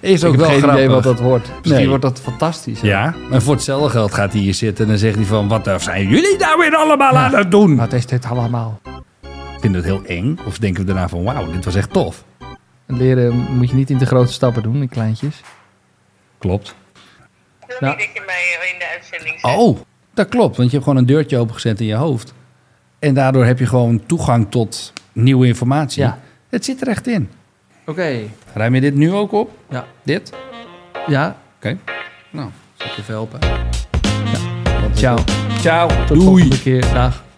Is ook heb wel geen grappig. idee wat dat wordt. Misschien Nee. wordt dat fantastisch. hè? Ja, maar voor hetzelfde geld gaat hij hier zitten en dan zegt hij van... Wat zijn jullie nou weer allemaal aan het doen? Wat is dit allemaal? Vinden we het heel eng? Of denken we daarna van wauw, dit was echt tof? Leren moet je niet in de grote stappen doen, in kleintjes. Klopt. Ik wil Nou. niet dat je mij in de uitzending zet. Oh, dat klopt. Want je hebt gewoon een deurtje opengezet in je hoofd. En daardoor heb je gewoon toegang tot nieuwe informatie. Ja. Het zit er echt in. Oké. Ruim je dit nu ook op? Ja. Dit? Ja. Oké. Nou, zal ik even helpen. Ciao. Ciao. Tot de Doei. volgende keer. Dag.